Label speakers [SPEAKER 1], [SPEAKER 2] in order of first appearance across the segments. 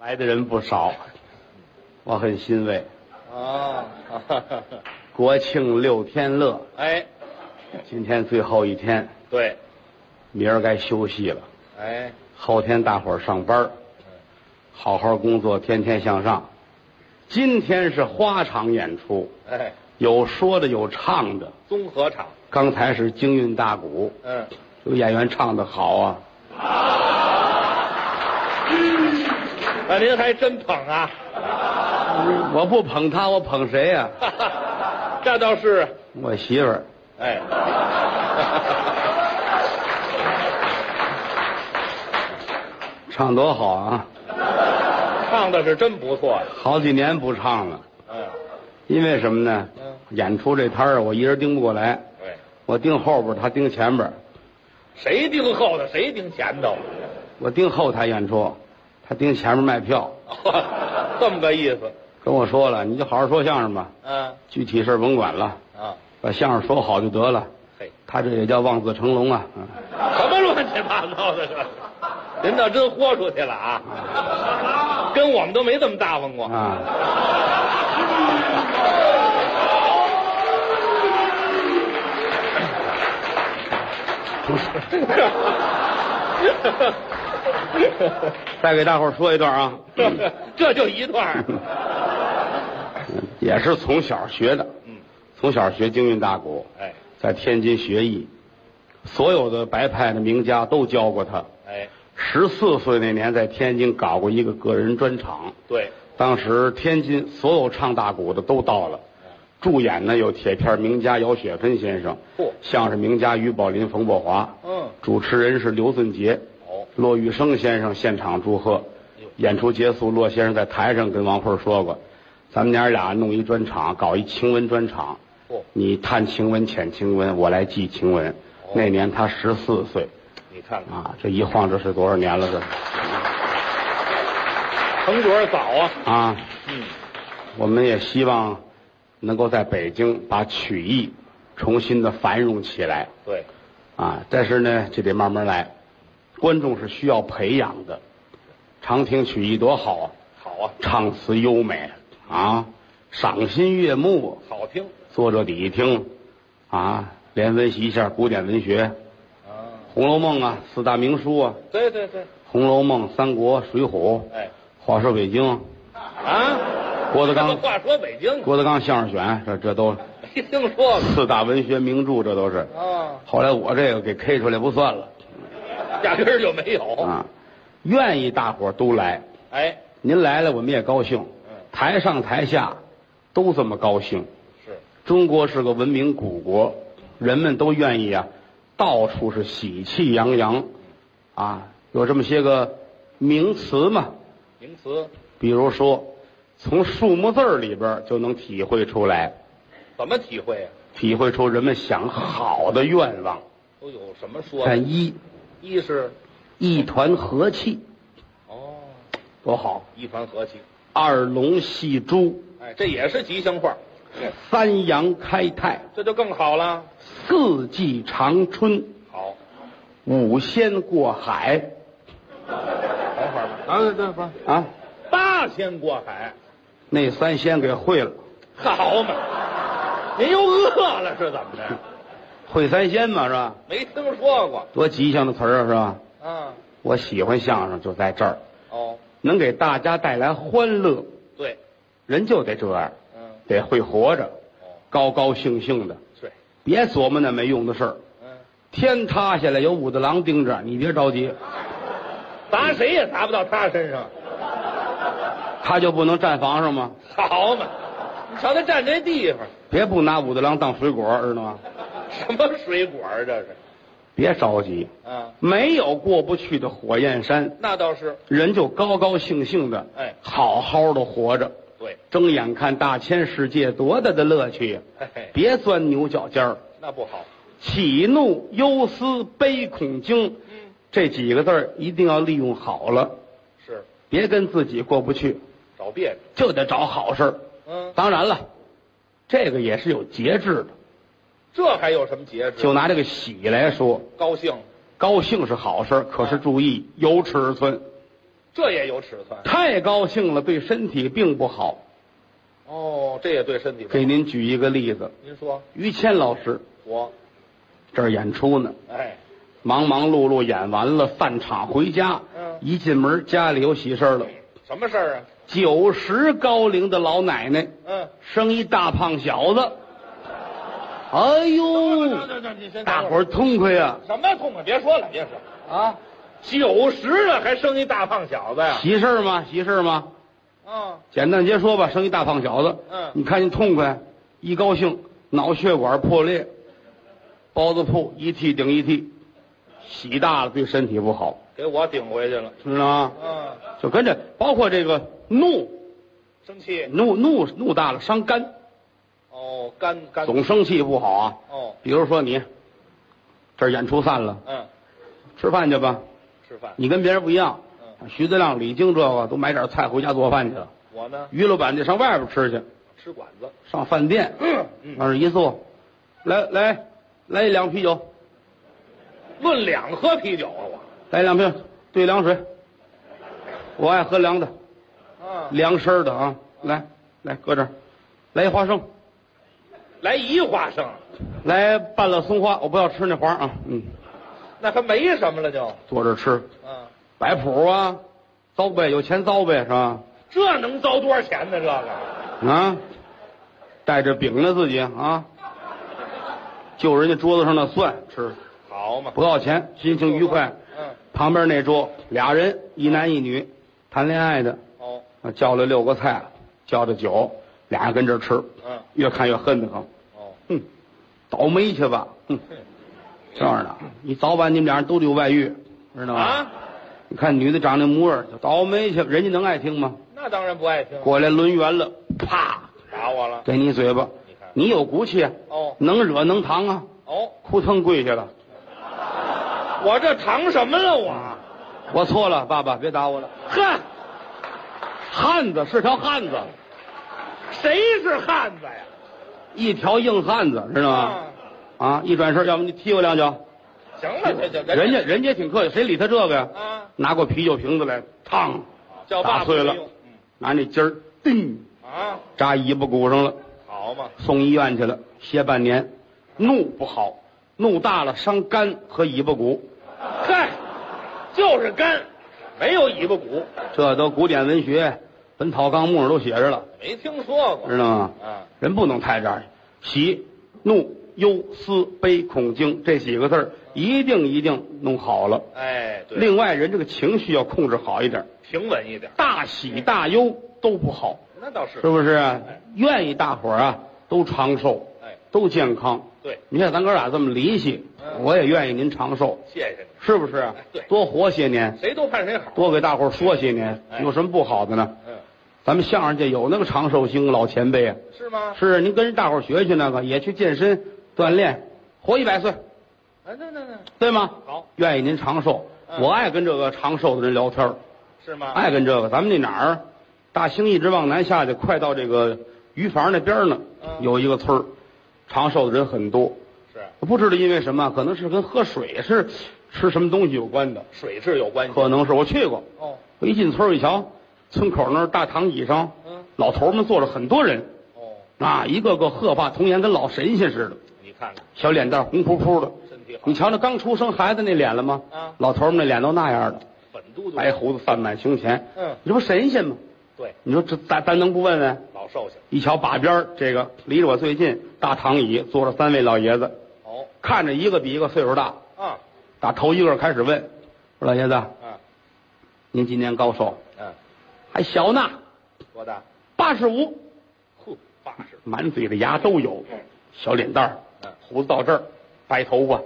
[SPEAKER 1] 来的人不少，我很欣慰。
[SPEAKER 2] 哦，
[SPEAKER 1] 国庆六天乐，
[SPEAKER 2] 哎，
[SPEAKER 1] 今天最后一天，
[SPEAKER 2] 对，
[SPEAKER 1] 明儿该休息了，
[SPEAKER 2] 哎，
[SPEAKER 1] 后天大伙儿上班儿好好工作，天天向上。今天是花场演出，
[SPEAKER 2] 哎，
[SPEAKER 1] 有说的有唱的。
[SPEAKER 2] 综合场，
[SPEAKER 1] 刚才是京韵大鼓，
[SPEAKER 2] 嗯，
[SPEAKER 1] 有演员唱的好啊，
[SPEAKER 2] 啊，您还真捧啊，
[SPEAKER 1] 我不捧他，我捧谁呀、
[SPEAKER 2] 哈哈这倒是，
[SPEAKER 1] 我媳妇儿，
[SPEAKER 2] 哎，
[SPEAKER 1] 唱多好啊！
[SPEAKER 2] 唱的是真不错呀，
[SPEAKER 1] 好几年不唱了，
[SPEAKER 2] 嗯，
[SPEAKER 1] 因为什么呢？
[SPEAKER 2] 嗯
[SPEAKER 1] 演出这摊儿我一人盯不过来，
[SPEAKER 2] 对，
[SPEAKER 1] 我盯后边儿，他盯前边儿；
[SPEAKER 2] 谁盯后头，谁盯前头，
[SPEAKER 1] 我盯后台演出，他盯前面卖票。
[SPEAKER 2] 哦这么个意思，
[SPEAKER 1] 跟我说了，你就好好说相声吧，
[SPEAKER 2] 嗯，
[SPEAKER 1] 具体事儿甭管了，
[SPEAKER 2] 啊，
[SPEAKER 1] 把相声说好就得了。
[SPEAKER 2] 嘿，
[SPEAKER 1] 他这也叫望子成龙啊！嗯
[SPEAKER 2] 什么乱七八糟的这，您倒真豁出去了啊，跟我们都没这么大方过，
[SPEAKER 1] 啊，再给大伙儿说一段啊，
[SPEAKER 2] 这 这就一段儿，
[SPEAKER 1] 嗯也是从小学的，
[SPEAKER 2] 嗯，
[SPEAKER 1] 从小学京韵大鼓，
[SPEAKER 2] 哎，
[SPEAKER 1] 在天津学艺，所有的白派的名家都教过他。
[SPEAKER 2] 哎，
[SPEAKER 1] 十四岁那年在天津搞过一个个人专场，
[SPEAKER 2] 对，
[SPEAKER 1] 当时天津所有唱大鼓的都到了，
[SPEAKER 2] 啊
[SPEAKER 1] 助演呢有铁片名家姚雪芬先生，
[SPEAKER 2] 嚯
[SPEAKER 1] 相声名家于宝林、冯宝华，
[SPEAKER 2] 嗯，
[SPEAKER 1] 主持人是刘俊杰，
[SPEAKER 2] 哦，
[SPEAKER 1] 骆玉生先生现场祝贺
[SPEAKER 2] 哎呦。
[SPEAKER 1] 演出结束，骆先生在台上跟王慧说过：“咱们娘俩弄一专场，搞一晴雯专场，
[SPEAKER 2] 嚯，
[SPEAKER 1] 你探晴雯、浅晴雯，我来记晴雯。
[SPEAKER 2] 哦
[SPEAKER 1] 那年他十四岁
[SPEAKER 2] 你看看，
[SPEAKER 1] 啊，这一晃这是多少年了？这
[SPEAKER 2] 成角儿早啊，
[SPEAKER 1] 啊，
[SPEAKER 2] 嗯，
[SPEAKER 1] 我们也希望能够在北京把曲艺重新的繁荣起来
[SPEAKER 2] 对，
[SPEAKER 1] 啊，但是呢，这得慢慢来，观众是需要培养的。常听曲艺多好啊，
[SPEAKER 2] 好啊，
[SPEAKER 1] 唱词优美啊，赏心悦目，
[SPEAKER 2] 好听，
[SPEAKER 1] 坐着底听啊，连温习一下古典文学，《
[SPEAKER 2] 啊，
[SPEAKER 1] 红楼梦》啊，四大名书啊，
[SPEAKER 2] 对对对，
[SPEAKER 1] 《红楼梦》《三国》《水浒》《
[SPEAKER 2] 哎，
[SPEAKER 1] 话说北京》
[SPEAKER 2] 啊，
[SPEAKER 1] 郭德纲
[SPEAKER 2] 这不话说北京，
[SPEAKER 1] 郭德纲相声选，这这都
[SPEAKER 2] 没听说过，
[SPEAKER 1] 四大文学名著，这都是。
[SPEAKER 2] 啊，
[SPEAKER 1] 后来我这个给 K 出来不算了
[SPEAKER 2] 压根儿就没有，
[SPEAKER 1] 啊，愿意大伙儿都来，
[SPEAKER 2] 哎，
[SPEAKER 1] 您来了我们也高兴，
[SPEAKER 2] 嗯，
[SPEAKER 1] 台上台下都这么高兴。
[SPEAKER 2] 是，
[SPEAKER 1] 中国是个文明古国，人们都愿意啊，到处是喜气洋洋，啊，有这么些个名词嘛，
[SPEAKER 2] 名词
[SPEAKER 1] 比如说，从数目字儿里边儿就能体会出来，
[SPEAKER 2] 怎么体会啊？
[SPEAKER 1] 体会出人们想好的愿望。
[SPEAKER 2] 都有什么说的？
[SPEAKER 1] 看一，
[SPEAKER 2] 一是，
[SPEAKER 1] 一团和气，
[SPEAKER 2] 哦，
[SPEAKER 1] 多好；
[SPEAKER 2] 一团和气，
[SPEAKER 1] 二龙戏珠，
[SPEAKER 2] 哎，这也是吉 祥话，对
[SPEAKER 1] 三阳开泰，
[SPEAKER 2] 这就更好了，
[SPEAKER 1] 四季长春，
[SPEAKER 2] 好，
[SPEAKER 1] 五仙过海。
[SPEAKER 2] 等会儿吧，啊，等会儿。
[SPEAKER 1] 啊，
[SPEAKER 2] 八仙过海，
[SPEAKER 1] 那三仙给会了，
[SPEAKER 2] 好嘛？您又饿了是怎么着？
[SPEAKER 1] 会三仙嘛是吧？
[SPEAKER 2] 没听说过
[SPEAKER 1] 多吉祥的词儿啊是吧？
[SPEAKER 2] 啊？
[SPEAKER 1] 我喜欢相声就在这儿，
[SPEAKER 2] 哦，
[SPEAKER 1] 能给大家带来欢乐，
[SPEAKER 2] 对，
[SPEAKER 1] 人就得这样，
[SPEAKER 2] 嗯，
[SPEAKER 1] 得会活着。
[SPEAKER 2] 哦，
[SPEAKER 1] 高高兴兴的，
[SPEAKER 2] 对，
[SPEAKER 1] 别琢磨那没用的事儿。
[SPEAKER 2] 嗯，
[SPEAKER 1] 天塌下来有武大郎盯着，你别着急，
[SPEAKER 2] 砸谁也砸不到他身上，
[SPEAKER 1] 他就不能站房上吗？
[SPEAKER 2] 好嘛？你瞧他站这地 方，
[SPEAKER 1] 别不拿武大郎当水果，知道吗？
[SPEAKER 2] 什么水果啊这是？
[SPEAKER 1] 别着急，
[SPEAKER 2] 啊，
[SPEAKER 1] 没有过不去的火焰山，
[SPEAKER 2] 那倒是，
[SPEAKER 1] 人就高高兴兴的，
[SPEAKER 2] 哎
[SPEAKER 1] 好好的活着，
[SPEAKER 2] 对，
[SPEAKER 1] 睁眼看大千世界，多大的乐趣呀！
[SPEAKER 2] 嘿嘿，
[SPEAKER 1] 别钻牛角尖儿，
[SPEAKER 2] 那不好，
[SPEAKER 1] 喜怒忧思悲恐惊，
[SPEAKER 2] 嗯，
[SPEAKER 1] 这几个字儿一定要利用好了，
[SPEAKER 2] 是
[SPEAKER 1] 别跟自己过不去，
[SPEAKER 2] 找别扭，
[SPEAKER 1] 就得找好事儿。
[SPEAKER 2] 嗯，
[SPEAKER 1] 当然了，这个也是有节制的。
[SPEAKER 2] 这还有什么节制？
[SPEAKER 1] 就拿这个喜来说，
[SPEAKER 2] 高兴，
[SPEAKER 1] 高兴是好事儿，可是注意有尺寸。
[SPEAKER 2] 这也有尺寸。
[SPEAKER 1] 太高兴了对身体并不好。
[SPEAKER 2] 哦，这也对身体不好。
[SPEAKER 1] 给您举一个例子，
[SPEAKER 2] 您说，
[SPEAKER 1] 于谦老师
[SPEAKER 2] 我，
[SPEAKER 1] 这儿演出呢，
[SPEAKER 2] 哎，
[SPEAKER 1] 忙忙碌碌演完了，散场回家，
[SPEAKER 2] 嗯
[SPEAKER 1] 一进门家里有喜事儿了，
[SPEAKER 2] 什么事儿啊？
[SPEAKER 1] 九十高龄的老奶奶
[SPEAKER 2] 嗯，
[SPEAKER 1] 生一大胖小子，哎
[SPEAKER 2] 哦，
[SPEAKER 1] 呦，
[SPEAKER 2] 这这你先
[SPEAKER 1] 大
[SPEAKER 2] 等
[SPEAKER 1] 伙
[SPEAKER 2] 会
[SPEAKER 1] 儿痛快呀、
[SPEAKER 2] 什么痛快？别说了，别说了，
[SPEAKER 1] 啊！
[SPEAKER 2] 九十了还生一大胖小子呀？
[SPEAKER 1] 喜事儿吗？喜事儿吗？
[SPEAKER 2] 嗯，
[SPEAKER 1] 简单截说吧，生一大胖小子，
[SPEAKER 2] 嗯
[SPEAKER 1] 你看你痛快，一高兴脑血管破裂，包子铺一屉顶一屉，洗大了对身体不好，
[SPEAKER 2] 给我顶回去了。
[SPEAKER 1] 知道吗？
[SPEAKER 2] 嗯，
[SPEAKER 1] 啊就跟着包括这个怒
[SPEAKER 2] 生气。
[SPEAKER 1] 怒怒怒大了伤肝，
[SPEAKER 2] 哦，干干。
[SPEAKER 1] 总生气不好啊。
[SPEAKER 2] 哦，
[SPEAKER 1] 比如说你这儿演出散了，
[SPEAKER 2] 嗯，
[SPEAKER 1] 吃饭去吧，
[SPEAKER 2] 吃饭。
[SPEAKER 1] 你跟别人不一样
[SPEAKER 2] 嗯，
[SPEAKER 1] 徐德亮、李菁这个都买点菜回家做饭去了，
[SPEAKER 2] 我呢，
[SPEAKER 1] 于老板得上外边吃去。
[SPEAKER 2] 吃馆子。
[SPEAKER 1] 上饭店，
[SPEAKER 2] 嗯
[SPEAKER 1] 往那儿一坐，来来来一两啤酒，
[SPEAKER 2] 论两喝啤酒啊，
[SPEAKER 1] 来一两啤酒兑凉水，我爱喝凉的，
[SPEAKER 2] 我。嗯，
[SPEAKER 1] 凉身儿的啊，来来搁这儿，来一花生，
[SPEAKER 2] 来一花生，
[SPEAKER 1] 来半拉松花，我不要吃那花啊，嗯，
[SPEAKER 2] 那还没什么了就。
[SPEAKER 1] 坐这儿吃，
[SPEAKER 2] 嗯，
[SPEAKER 1] 摆谱啊，糟呗，有钱糟呗是吧？
[SPEAKER 2] 这能糟多少钱呢？这个
[SPEAKER 1] 啊，带着饼呢自己啊，就人家桌子上那蒜吃，
[SPEAKER 2] 好嘛，
[SPEAKER 1] 不要钱，心情愉快。
[SPEAKER 2] 嗯，
[SPEAKER 1] 旁边那桌俩人，一男一女，谈恋爱的，
[SPEAKER 2] 哦，
[SPEAKER 1] 啊叫了六个菜，叫的酒，俩人跟这儿吃，
[SPEAKER 2] 嗯，
[SPEAKER 1] 越看越恨得慌，
[SPEAKER 2] 哦，
[SPEAKER 1] 哼，倒霉去吧，哼，
[SPEAKER 2] 哼
[SPEAKER 1] 这样的，你早晚你们俩人都得有外遇，知道吗？
[SPEAKER 2] 啊，
[SPEAKER 1] 你看女的长那模样，倒霉去吧，人家能爱听吗？
[SPEAKER 2] 那当然不爱听，
[SPEAKER 1] 过来抡圆了，啪，
[SPEAKER 2] 打我了。
[SPEAKER 1] 给你一嘴巴，
[SPEAKER 2] 你看，
[SPEAKER 1] 你有骨气啊，
[SPEAKER 2] 哦
[SPEAKER 1] 能惹能扛啊，
[SPEAKER 2] 哦，
[SPEAKER 1] 扑腾跪下了，
[SPEAKER 2] 我这藏什么了我？
[SPEAKER 1] 我错了，爸爸别打我了，
[SPEAKER 2] 哼，
[SPEAKER 1] 汉子是条汉子。
[SPEAKER 2] 谁是汉子呀？
[SPEAKER 1] 一条硬汉子，知道吗？啊，一转身，要不你踢我两脚。
[SPEAKER 2] 嗯，行了，这就
[SPEAKER 1] 人家人家挺客气，谁理他这个呀？
[SPEAKER 2] 啊，
[SPEAKER 1] 拿过啤酒瓶子来，烫，
[SPEAKER 2] 叫爸
[SPEAKER 1] 打
[SPEAKER 2] 爸
[SPEAKER 1] 碎了
[SPEAKER 2] 不用嗯
[SPEAKER 1] 拿那尖儿，叮，
[SPEAKER 2] 啊，
[SPEAKER 1] 扎尾巴骨上了，
[SPEAKER 2] 好嘛，
[SPEAKER 1] 送医院去了，歇半年。怒不好，怒大了伤肝和尾巴骨，
[SPEAKER 2] 嗨，就是干，没有尾巴骨，
[SPEAKER 1] 这都古典文学《本草纲目》上都写着了，
[SPEAKER 2] 没听说过。
[SPEAKER 1] 知道吗？
[SPEAKER 2] 啊，
[SPEAKER 1] 人不能太这样，喜、怒、忧、思、悲、恐、惊这几个字儿一定一定弄好了。
[SPEAKER 2] 哎，对，
[SPEAKER 1] 另外，人这个情绪要控制好一点，
[SPEAKER 2] 平稳一点，
[SPEAKER 1] 大喜大忧都不好，
[SPEAKER 2] 那倒是
[SPEAKER 1] 是。不是啊
[SPEAKER 2] 哎？
[SPEAKER 1] 愿意大伙儿啊都长寿，
[SPEAKER 2] 哎，
[SPEAKER 1] 都健康。
[SPEAKER 2] 对，
[SPEAKER 1] 你看咱哥俩这么离析，
[SPEAKER 2] 嗯
[SPEAKER 1] 我也愿意您长寿，
[SPEAKER 2] 谢谢你，
[SPEAKER 1] 是不是啊
[SPEAKER 2] 哎对？
[SPEAKER 1] 多活些年，
[SPEAKER 2] 谁都盼谁好。
[SPEAKER 1] 多给大伙儿说些年，
[SPEAKER 2] 哎
[SPEAKER 1] 有什么不好的呢？
[SPEAKER 2] 嗯，
[SPEAKER 1] 咱们相声界有那个长寿星老前辈啊，
[SPEAKER 2] 是吗？
[SPEAKER 1] 是您跟人大伙儿学学那个，也去健身锻炼，活一百岁，
[SPEAKER 2] 啊，那那那
[SPEAKER 1] 对吗？
[SPEAKER 2] 好，
[SPEAKER 1] 愿意您长寿，
[SPEAKER 2] 嗯
[SPEAKER 1] 我爱跟这个长寿的人聊天儿。
[SPEAKER 2] 是吗？
[SPEAKER 1] 爱跟这个，咱们那哪儿，大兴一直往南下去，快到这个鱼房那边呢，
[SPEAKER 2] 嗯
[SPEAKER 1] 有一个村儿，长寿的人很多。
[SPEAKER 2] 是啊
[SPEAKER 1] 不知道因为什么，可能是跟喝水是吃什么东西有关的，
[SPEAKER 2] 水质有关系。
[SPEAKER 1] 可能是我去过，
[SPEAKER 2] 哦，
[SPEAKER 1] 我一进村儿一瞧，村口那儿大躺椅上，
[SPEAKER 2] 嗯，
[SPEAKER 1] 老头儿们坐着很多人，
[SPEAKER 2] 哦，
[SPEAKER 1] 啊，一个个鹤发童颜，跟老神仙似的，
[SPEAKER 2] 你看看
[SPEAKER 1] 小脸蛋儿红扑扑的。
[SPEAKER 2] 身体好
[SPEAKER 1] 你，瞧那刚出生孩子那脸了吗？
[SPEAKER 2] 啊
[SPEAKER 1] 老头儿们那脸都那样的，
[SPEAKER 2] 粉嘟嘟。
[SPEAKER 1] 白胡子散满胸前。
[SPEAKER 2] 嗯，
[SPEAKER 1] 你这不神仙吗？
[SPEAKER 2] 对，
[SPEAKER 1] 你说这咱咱能不问问？
[SPEAKER 2] 老寿星。
[SPEAKER 1] 一瞧把边儿这个离着我最近，大躺椅坐着三位老爷子，
[SPEAKER 2] 哦，
[SPEAKER 1] 看着一个比一个岁数大。
[SPEAKER 2] 啊，
[SPEAKER 1] 打头一个开始问：“说老爷子，
[SPEAKER 2] 啊，
[SPEAKER 1] 您今年高寿？
[SPEAKER 2] 嗯，
[SPEAKER 1] 还小呢，
[SPEAKER 2] 多大？
[SPEAKER 1] 八十五，
[SPEAKER 2] 哼，八十。
[SPEAKER 1] 满嘴的牙都有，小脸蛋儿
[SPEAKER 2] 嗯，
[SPEAKER 1] 胡子到这儿，白头发，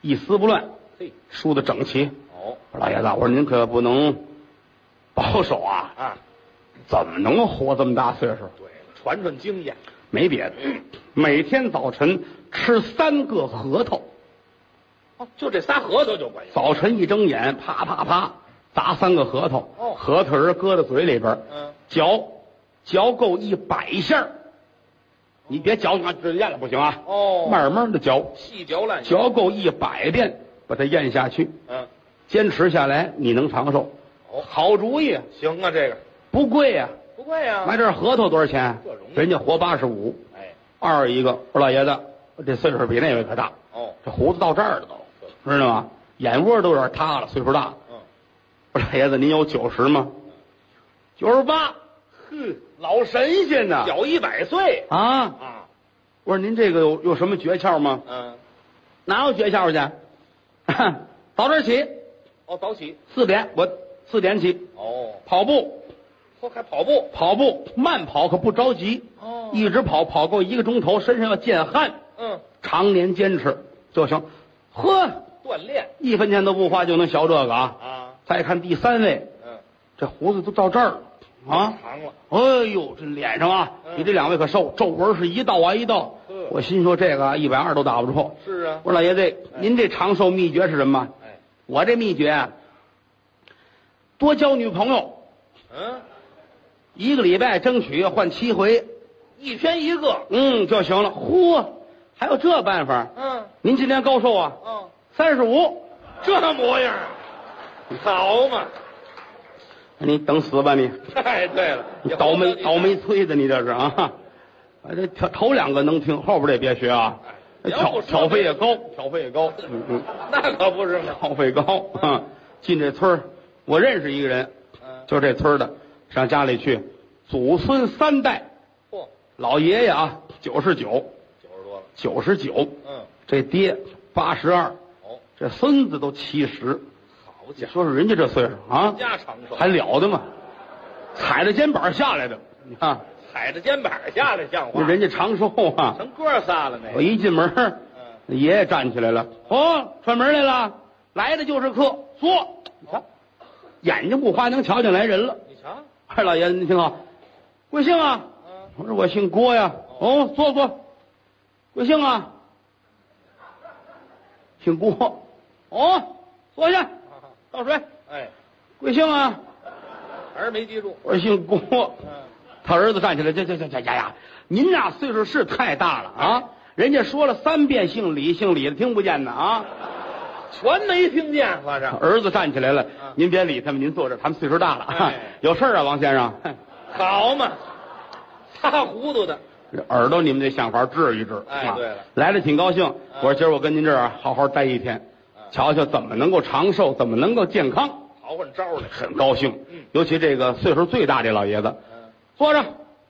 [SPEAKER 1] 一丝不乱，
[SPEAKER 2] 嘿，
[SPEAKER 1] 梳的整齐。
[SPEAKER 2] 哦，
[SPEAKER 1] 我说老爷子，我说您可不能保守啊，
[SPEAKER 2] 啊，
[SPEAKER 1] 怎么能活这么大岁数？
[SPEAKER 2] 对，传传经验。
[SPEAKER 1] 没别的，每天早晨吃三个核桃。”
[SPEAKER 2] 哦，就这仨核桃就管用。
[SPEAKER 1] 早晨一睁眼，啪啪啪砸三个核桃，
[SPEAKER 2] 哦
[SPEAKER 1] 核桃仁搁到嘴里边，
[SPEAKER 2] 嗯，
[SPEAKER 1] 嚼，嚼够一百下儿你别嚼啊，这咽了不行啊，
[SPEAKER 2] 哦
[SPEAKER 1] 慢慢的嚼，
[SPEAKER 2] 细嚼烂嚼。
[SPEAKER 1] 嚼够一百遍，把它咽下去，
[SPEAKER 2] 嗯，哦
[SPEAKER 1] 坚持下来，你能长寿。好主意，
[SPEAKER 2] 行啊，这个
[SPEAKER 1] 不贵呀、
[SPEAKER 2] 不贵呀、
[SPEAKER 1] 买点核桃多少钱
[SPEAKER 2] 嗯
[SPEAKER 1] 啊
[SPEAKER 2] 这容？易啊
[SPEAKER 1] 人家活八十五。
[SPEAKER 2] 哎，
[SPEAKER 1] 二一个二老爷子，这岁数比那位可大，
[SPEAKER 2] 哦，
[SPEAKER 1] 这胡子到这儿了都，知道吗？眼窝都有点塌了，岁数大了。
[SPEAKER 2] 嗯，
[SPEAKER 1] 二老爷子，您有九十吗？九十八，
[SPEAKER 2] 哼，
[SPEAKER 1] 老神仙呐！
[SPEAKER 2] 小一百岁
[SPEAKER 1] 啊！
[SPEAKER 2] 啊，
[SPEAKER 1] 我说您这个有有什么诀窍吗？
[SPEAKER 2] 嗯，
[SPEAKER 1] 哪有诀窍去？ 早点起，
[SPEAKER 2] 哦，早起，
[SPEAKER 1] 四点我四点起
[SPEAKER 2] 哦，
[SPEAKER 1] 跑步，
[SPEAKER 2] 后还跑步，
[SPEAKER 1] 跑步慢跑可不着急，
[SPEAKER 2] 哦
[SPEAKER 1] 一直跑跑够一个钟头，身上要见汗，
[SPEAKER 2] 嗯，
[SPEAKER 1] 常年坚持就行。呵，
[SPEAKER 2] 锻炼
[SPEAKER 1] 一分钱都不花就能学这个啊！
[SPEAKER 2] 啊，
[SPEAKER 1] 再看第三位，
[SPEAKER 2] 嗯，
[SPEAKER 1] 这胡子都到这儿了啊！
[SPEAKER 2] 长了，
[SPEAKER 1] 哎呦，这脸上啊，
[SPEAKER 2] 嗯
[SPEAKER 1] 比这两位可瘦，皱纹是一道挨一道
[SPEAKER 2] 嗯。
[SPEAKER 1] 我心说这个一百二都打不住。
[SPEAKER 2] 是啊，
[SPEAKER 1] 我说老爷子，
[SPEAKER 2] 哎
[SPEAKER 1] 您这长寿秘诀是什么？
[SPEAKER 2] 哎，
[SPEAKER 1] 我这秘诀啊，多交女朋友，
[SPEAKER 2] 嗯，
[SPEAKER 1] 一个礼拜争取换七回，
[SPEAKER 2] 一天一个，
[SPEAKER 1] 嗯就行了。嚯，还有这办法？
[SPEAKER 2] 嗯，
[SPEAKER 1] 您今年高寿啊？
[SPEAKER 2] 嗯，
[SPEAKER 1] 三十五，
[SPEAKER 2] 这模样儿，啊好嘛，
[SPEAKER 1] 哎你等死吧你！
[SPEAKER 2] 太对了，
[SPEAKER 1] 你
[SPEAKER 2] 也
[SPEAKER 1] 倒霉
[SPEAKER 2] 活不到
[SPEAKER 1] 倒
[SPEAKER 2] 你
[SPEAKER 1] 霉催的，你这是啊！啊，这头头两个能听，后边这别学啊这
[SPEAKER 2] 哎。要
[SPEAKER 1] 挑
[SPEAKER 2] 不说
[SPEAKER 1] 挑费
[SPEAKER 2] 这
[SPEAKER 1] 也高，挑费也高，嗯嗯，
[SPEAKER 2] 那可不是 嘛，
[SPEAKER 1] 挑费高啊！进这村儿，我认识一个人，
[SPEAKER 2] 嗯，
[SPEAKER 1] 就这村儿的，上家里去，祖孙三代，
[SPEAKER 2] 嚯，
[SPEAKER 1] 老爷爷啊九十九，
[SPEAKER 2] 九十多了，
[SPEAKER 1] 九十九，
[SPEAKER 2] 嗯，
[SPEAKER 1] 这爹八十二，
[SPEAKER 2] 哦，
[SPEAKER 1] 这孙子都七十，
[SPEAKER 2] 好
[SPEAKER 1] 你
[SPEAKER 2] 家伙，
[SPEAKER 1] 说说人家这岁数 啊，
[SPEAKER 2] 家长寿，
[SPEAKER 1] 还了得吗？踩着肩膀下来的，你看
[SPEAKER 2] 踩着肩膀下来像话，
[SPEAKER 1] 人家长寿啊！
[SPEAKER 2] 成哥仨了呢
[SPEAKER 1] 我，一进门儿，
[SPEAKER 2] 嗯，
[SPEAKER 1] 爷爷站起来了，哦，串门来了，来的就是客，坐。你看，眼睛不花能瞧见来人了。
[SPEAKER 2] 你瞧，
[SPEAKER 1] 二老爷子，您听好，贵姓啊？
[SPEAKER 2] 嗯，
[SPEAKER 1] 我说我姓郭呀。哦，坐坐。贵姓啊？姓郭。哦，坐下，倒水。
[SPEAKER 2] 哎，
[SPEAKER 1] 贵姓啊？
[SPEAKER 2] 还是没记住，
[SPEAKER 1] 我说姓郭。
[SPEAKER 2] 嗯，
[SPEAKER 1] 他儿子站起来，这这这这呀呀，您呐岁数是太大了啊！人家说了三遍姓李，姓李的听不见呢啊！
[SPEAKER 2] 全没听见，合着
[SPEAKER 1] 儿子站起来了
[SPEAKER 2] 嗯，
[SPEAKER 1] 您别理他们，您坐这，他们岁数大了
[SPEAKER 2] 哎，
[SPEAKER 1] 有事儿啊，王先生，
[SPEAKER 2] 好嘛，擦糊涂的，
[SPEAKER 1] 耳朵你们得想法治一治。
[SPEAKER 2] 哎
[SPEAKER 1] 啊
[SPEAKER 2] 对了嗯
[SPEAKER 1] 来了挺高兴，我说今儿我跟您这儿啊好好待一天，瞧瞧怎么能够长寿，怎么能够健康，
[SPEAKER 2] 好换招来，
[SPEAKER 1] 很高兴
[SPEAKER 2] 嗯。
[SPEAKER 1] 尤其这个岁数最大这老爷子，
[SPEAKER 2] 嗯，
[SPEAKER 1] 坐着，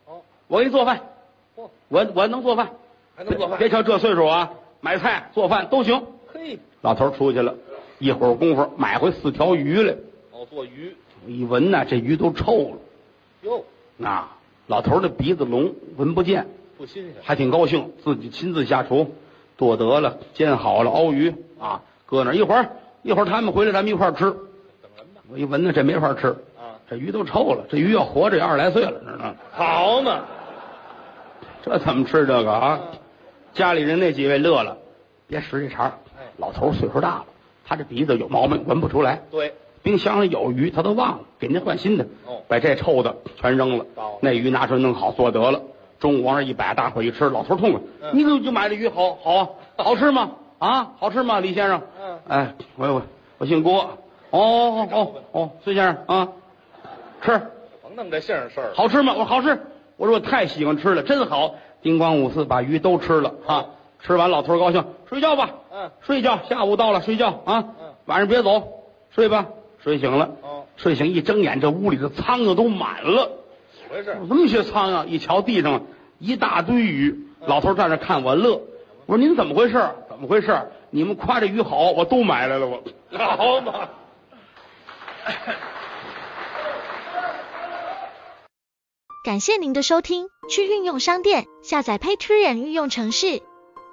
[SPEAKER 2] 哦，
[SPEAKER 1] 我给你做饭，
[SPEAKER 2] 嚯，
[SPEAKER 1] 我我能做饭，
[SPEAKER 2] 还能做饭
[SPEAKER 1] 别别瞧这岁数啊，买菜做饭都行。
[SPEAKER 2] 嘿，
[SPEAKER 1] 老头儿出去了，一会儿功夫买回四条鱼来，
[SPEAKER 2] 哦，做鱼，
[SPEAKER 1] 我一闻呐，这鱼都臭
[SPEAKER 2] 哟，
[SPEAKER 1] 了。啊，老头儿的鼻子聋，闻不见，
[SPEAKER 2] 不新鲜，
[SPEAKER 1] 还挺高兴，自己亲自下厨，剁得了，煎好了，熬鱼啊，搁那儿一会儿，一会儿他们回来，咱们一块儿吃。
[SPEAKER 2] 等人吧，
[SPEAKER 1] 我一闻呢，这没法吃，
[SPEAKER 2] 啊，
[SPEAKER 1] 这鱼都臭了，这鱼要活着也二十来岁了，知道吗？
[SPEAKER 2] 好嘛，
[SPEAKER 1] 这怎么吃这个啊
[SPEAKER 2] 嗯？
[SPEAKER 1] 家里人那几位乐了，别使这茬儿
[SPEAKER 2] 哎
[SPEAKER 1] 老头儿岁数大了，他这鼻子有毛病，闻不出来。
[SPEAKER 2] 对，
[SPEAKER 1] 冰箱里有鱼，他都忘了，给您换新的。
[SPEAKER 2] 哦
[SPEAKER 1] 把这臭的全扔了
[SPEAKER 2] 糟，
[SPEAKER 1] 那鱼拿出来弄好做得了。中午往那一摆，大伙一吃，老头痛快。
[SPEAKER 2] 嗯
[SPEAKER 1] 你怎么就买这鱼？好好 啊，好吃吗？啊，好吃吗，李先生？
[SPEAKER 2] 嗯
[SPEAKER 1] 哎，我我我姓郭。哦哦哦哦哦，孙先生啊，吃
[SPEAKER 2] 甭弄这姓儿事儿，
[SPEAKER 1] 好吃吗？我说好吃。我说我太喜欢吃了，真好。叮咣五四把鱼都吃了啊
[SPEAKER 2] 嗯，
[SPEAKER 1] 吃完老头儿高兴，睡觉吧。
[SPEAKER 2] 嗯，
[SPEAKER 1] 睡觉，下午到了，睡觉啊
[SPEAKER 2] 嗯，
[SPEAKER 1] 晚上别走，睡吧。睡醒了，
[SPEAKER 2] 哦，
[SPEAKER 1] 睡醒一睁眼，这屋里的苍蝇都满了，
[SPEAKER 2] 回事
[SPEAKER 1] 有这么些苍蝇？一瞧地上啊一大堆鱼，
[SPEAKER 2] 嗯
[SPEAKER 1] 老头站那看我乐，我说您怎么回事？怎么回事？你们夸这鱼好，我都买来了， 我
[SPEAKER 2] 好嘛。
[SPEAKER 3] 感谢您的收听，去运用商店下载 Patreon 运用城市，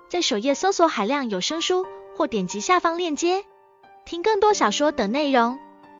[SPEAKER 3] 在首页搜索海量有声书，或点击下方链接听更多小说等内容。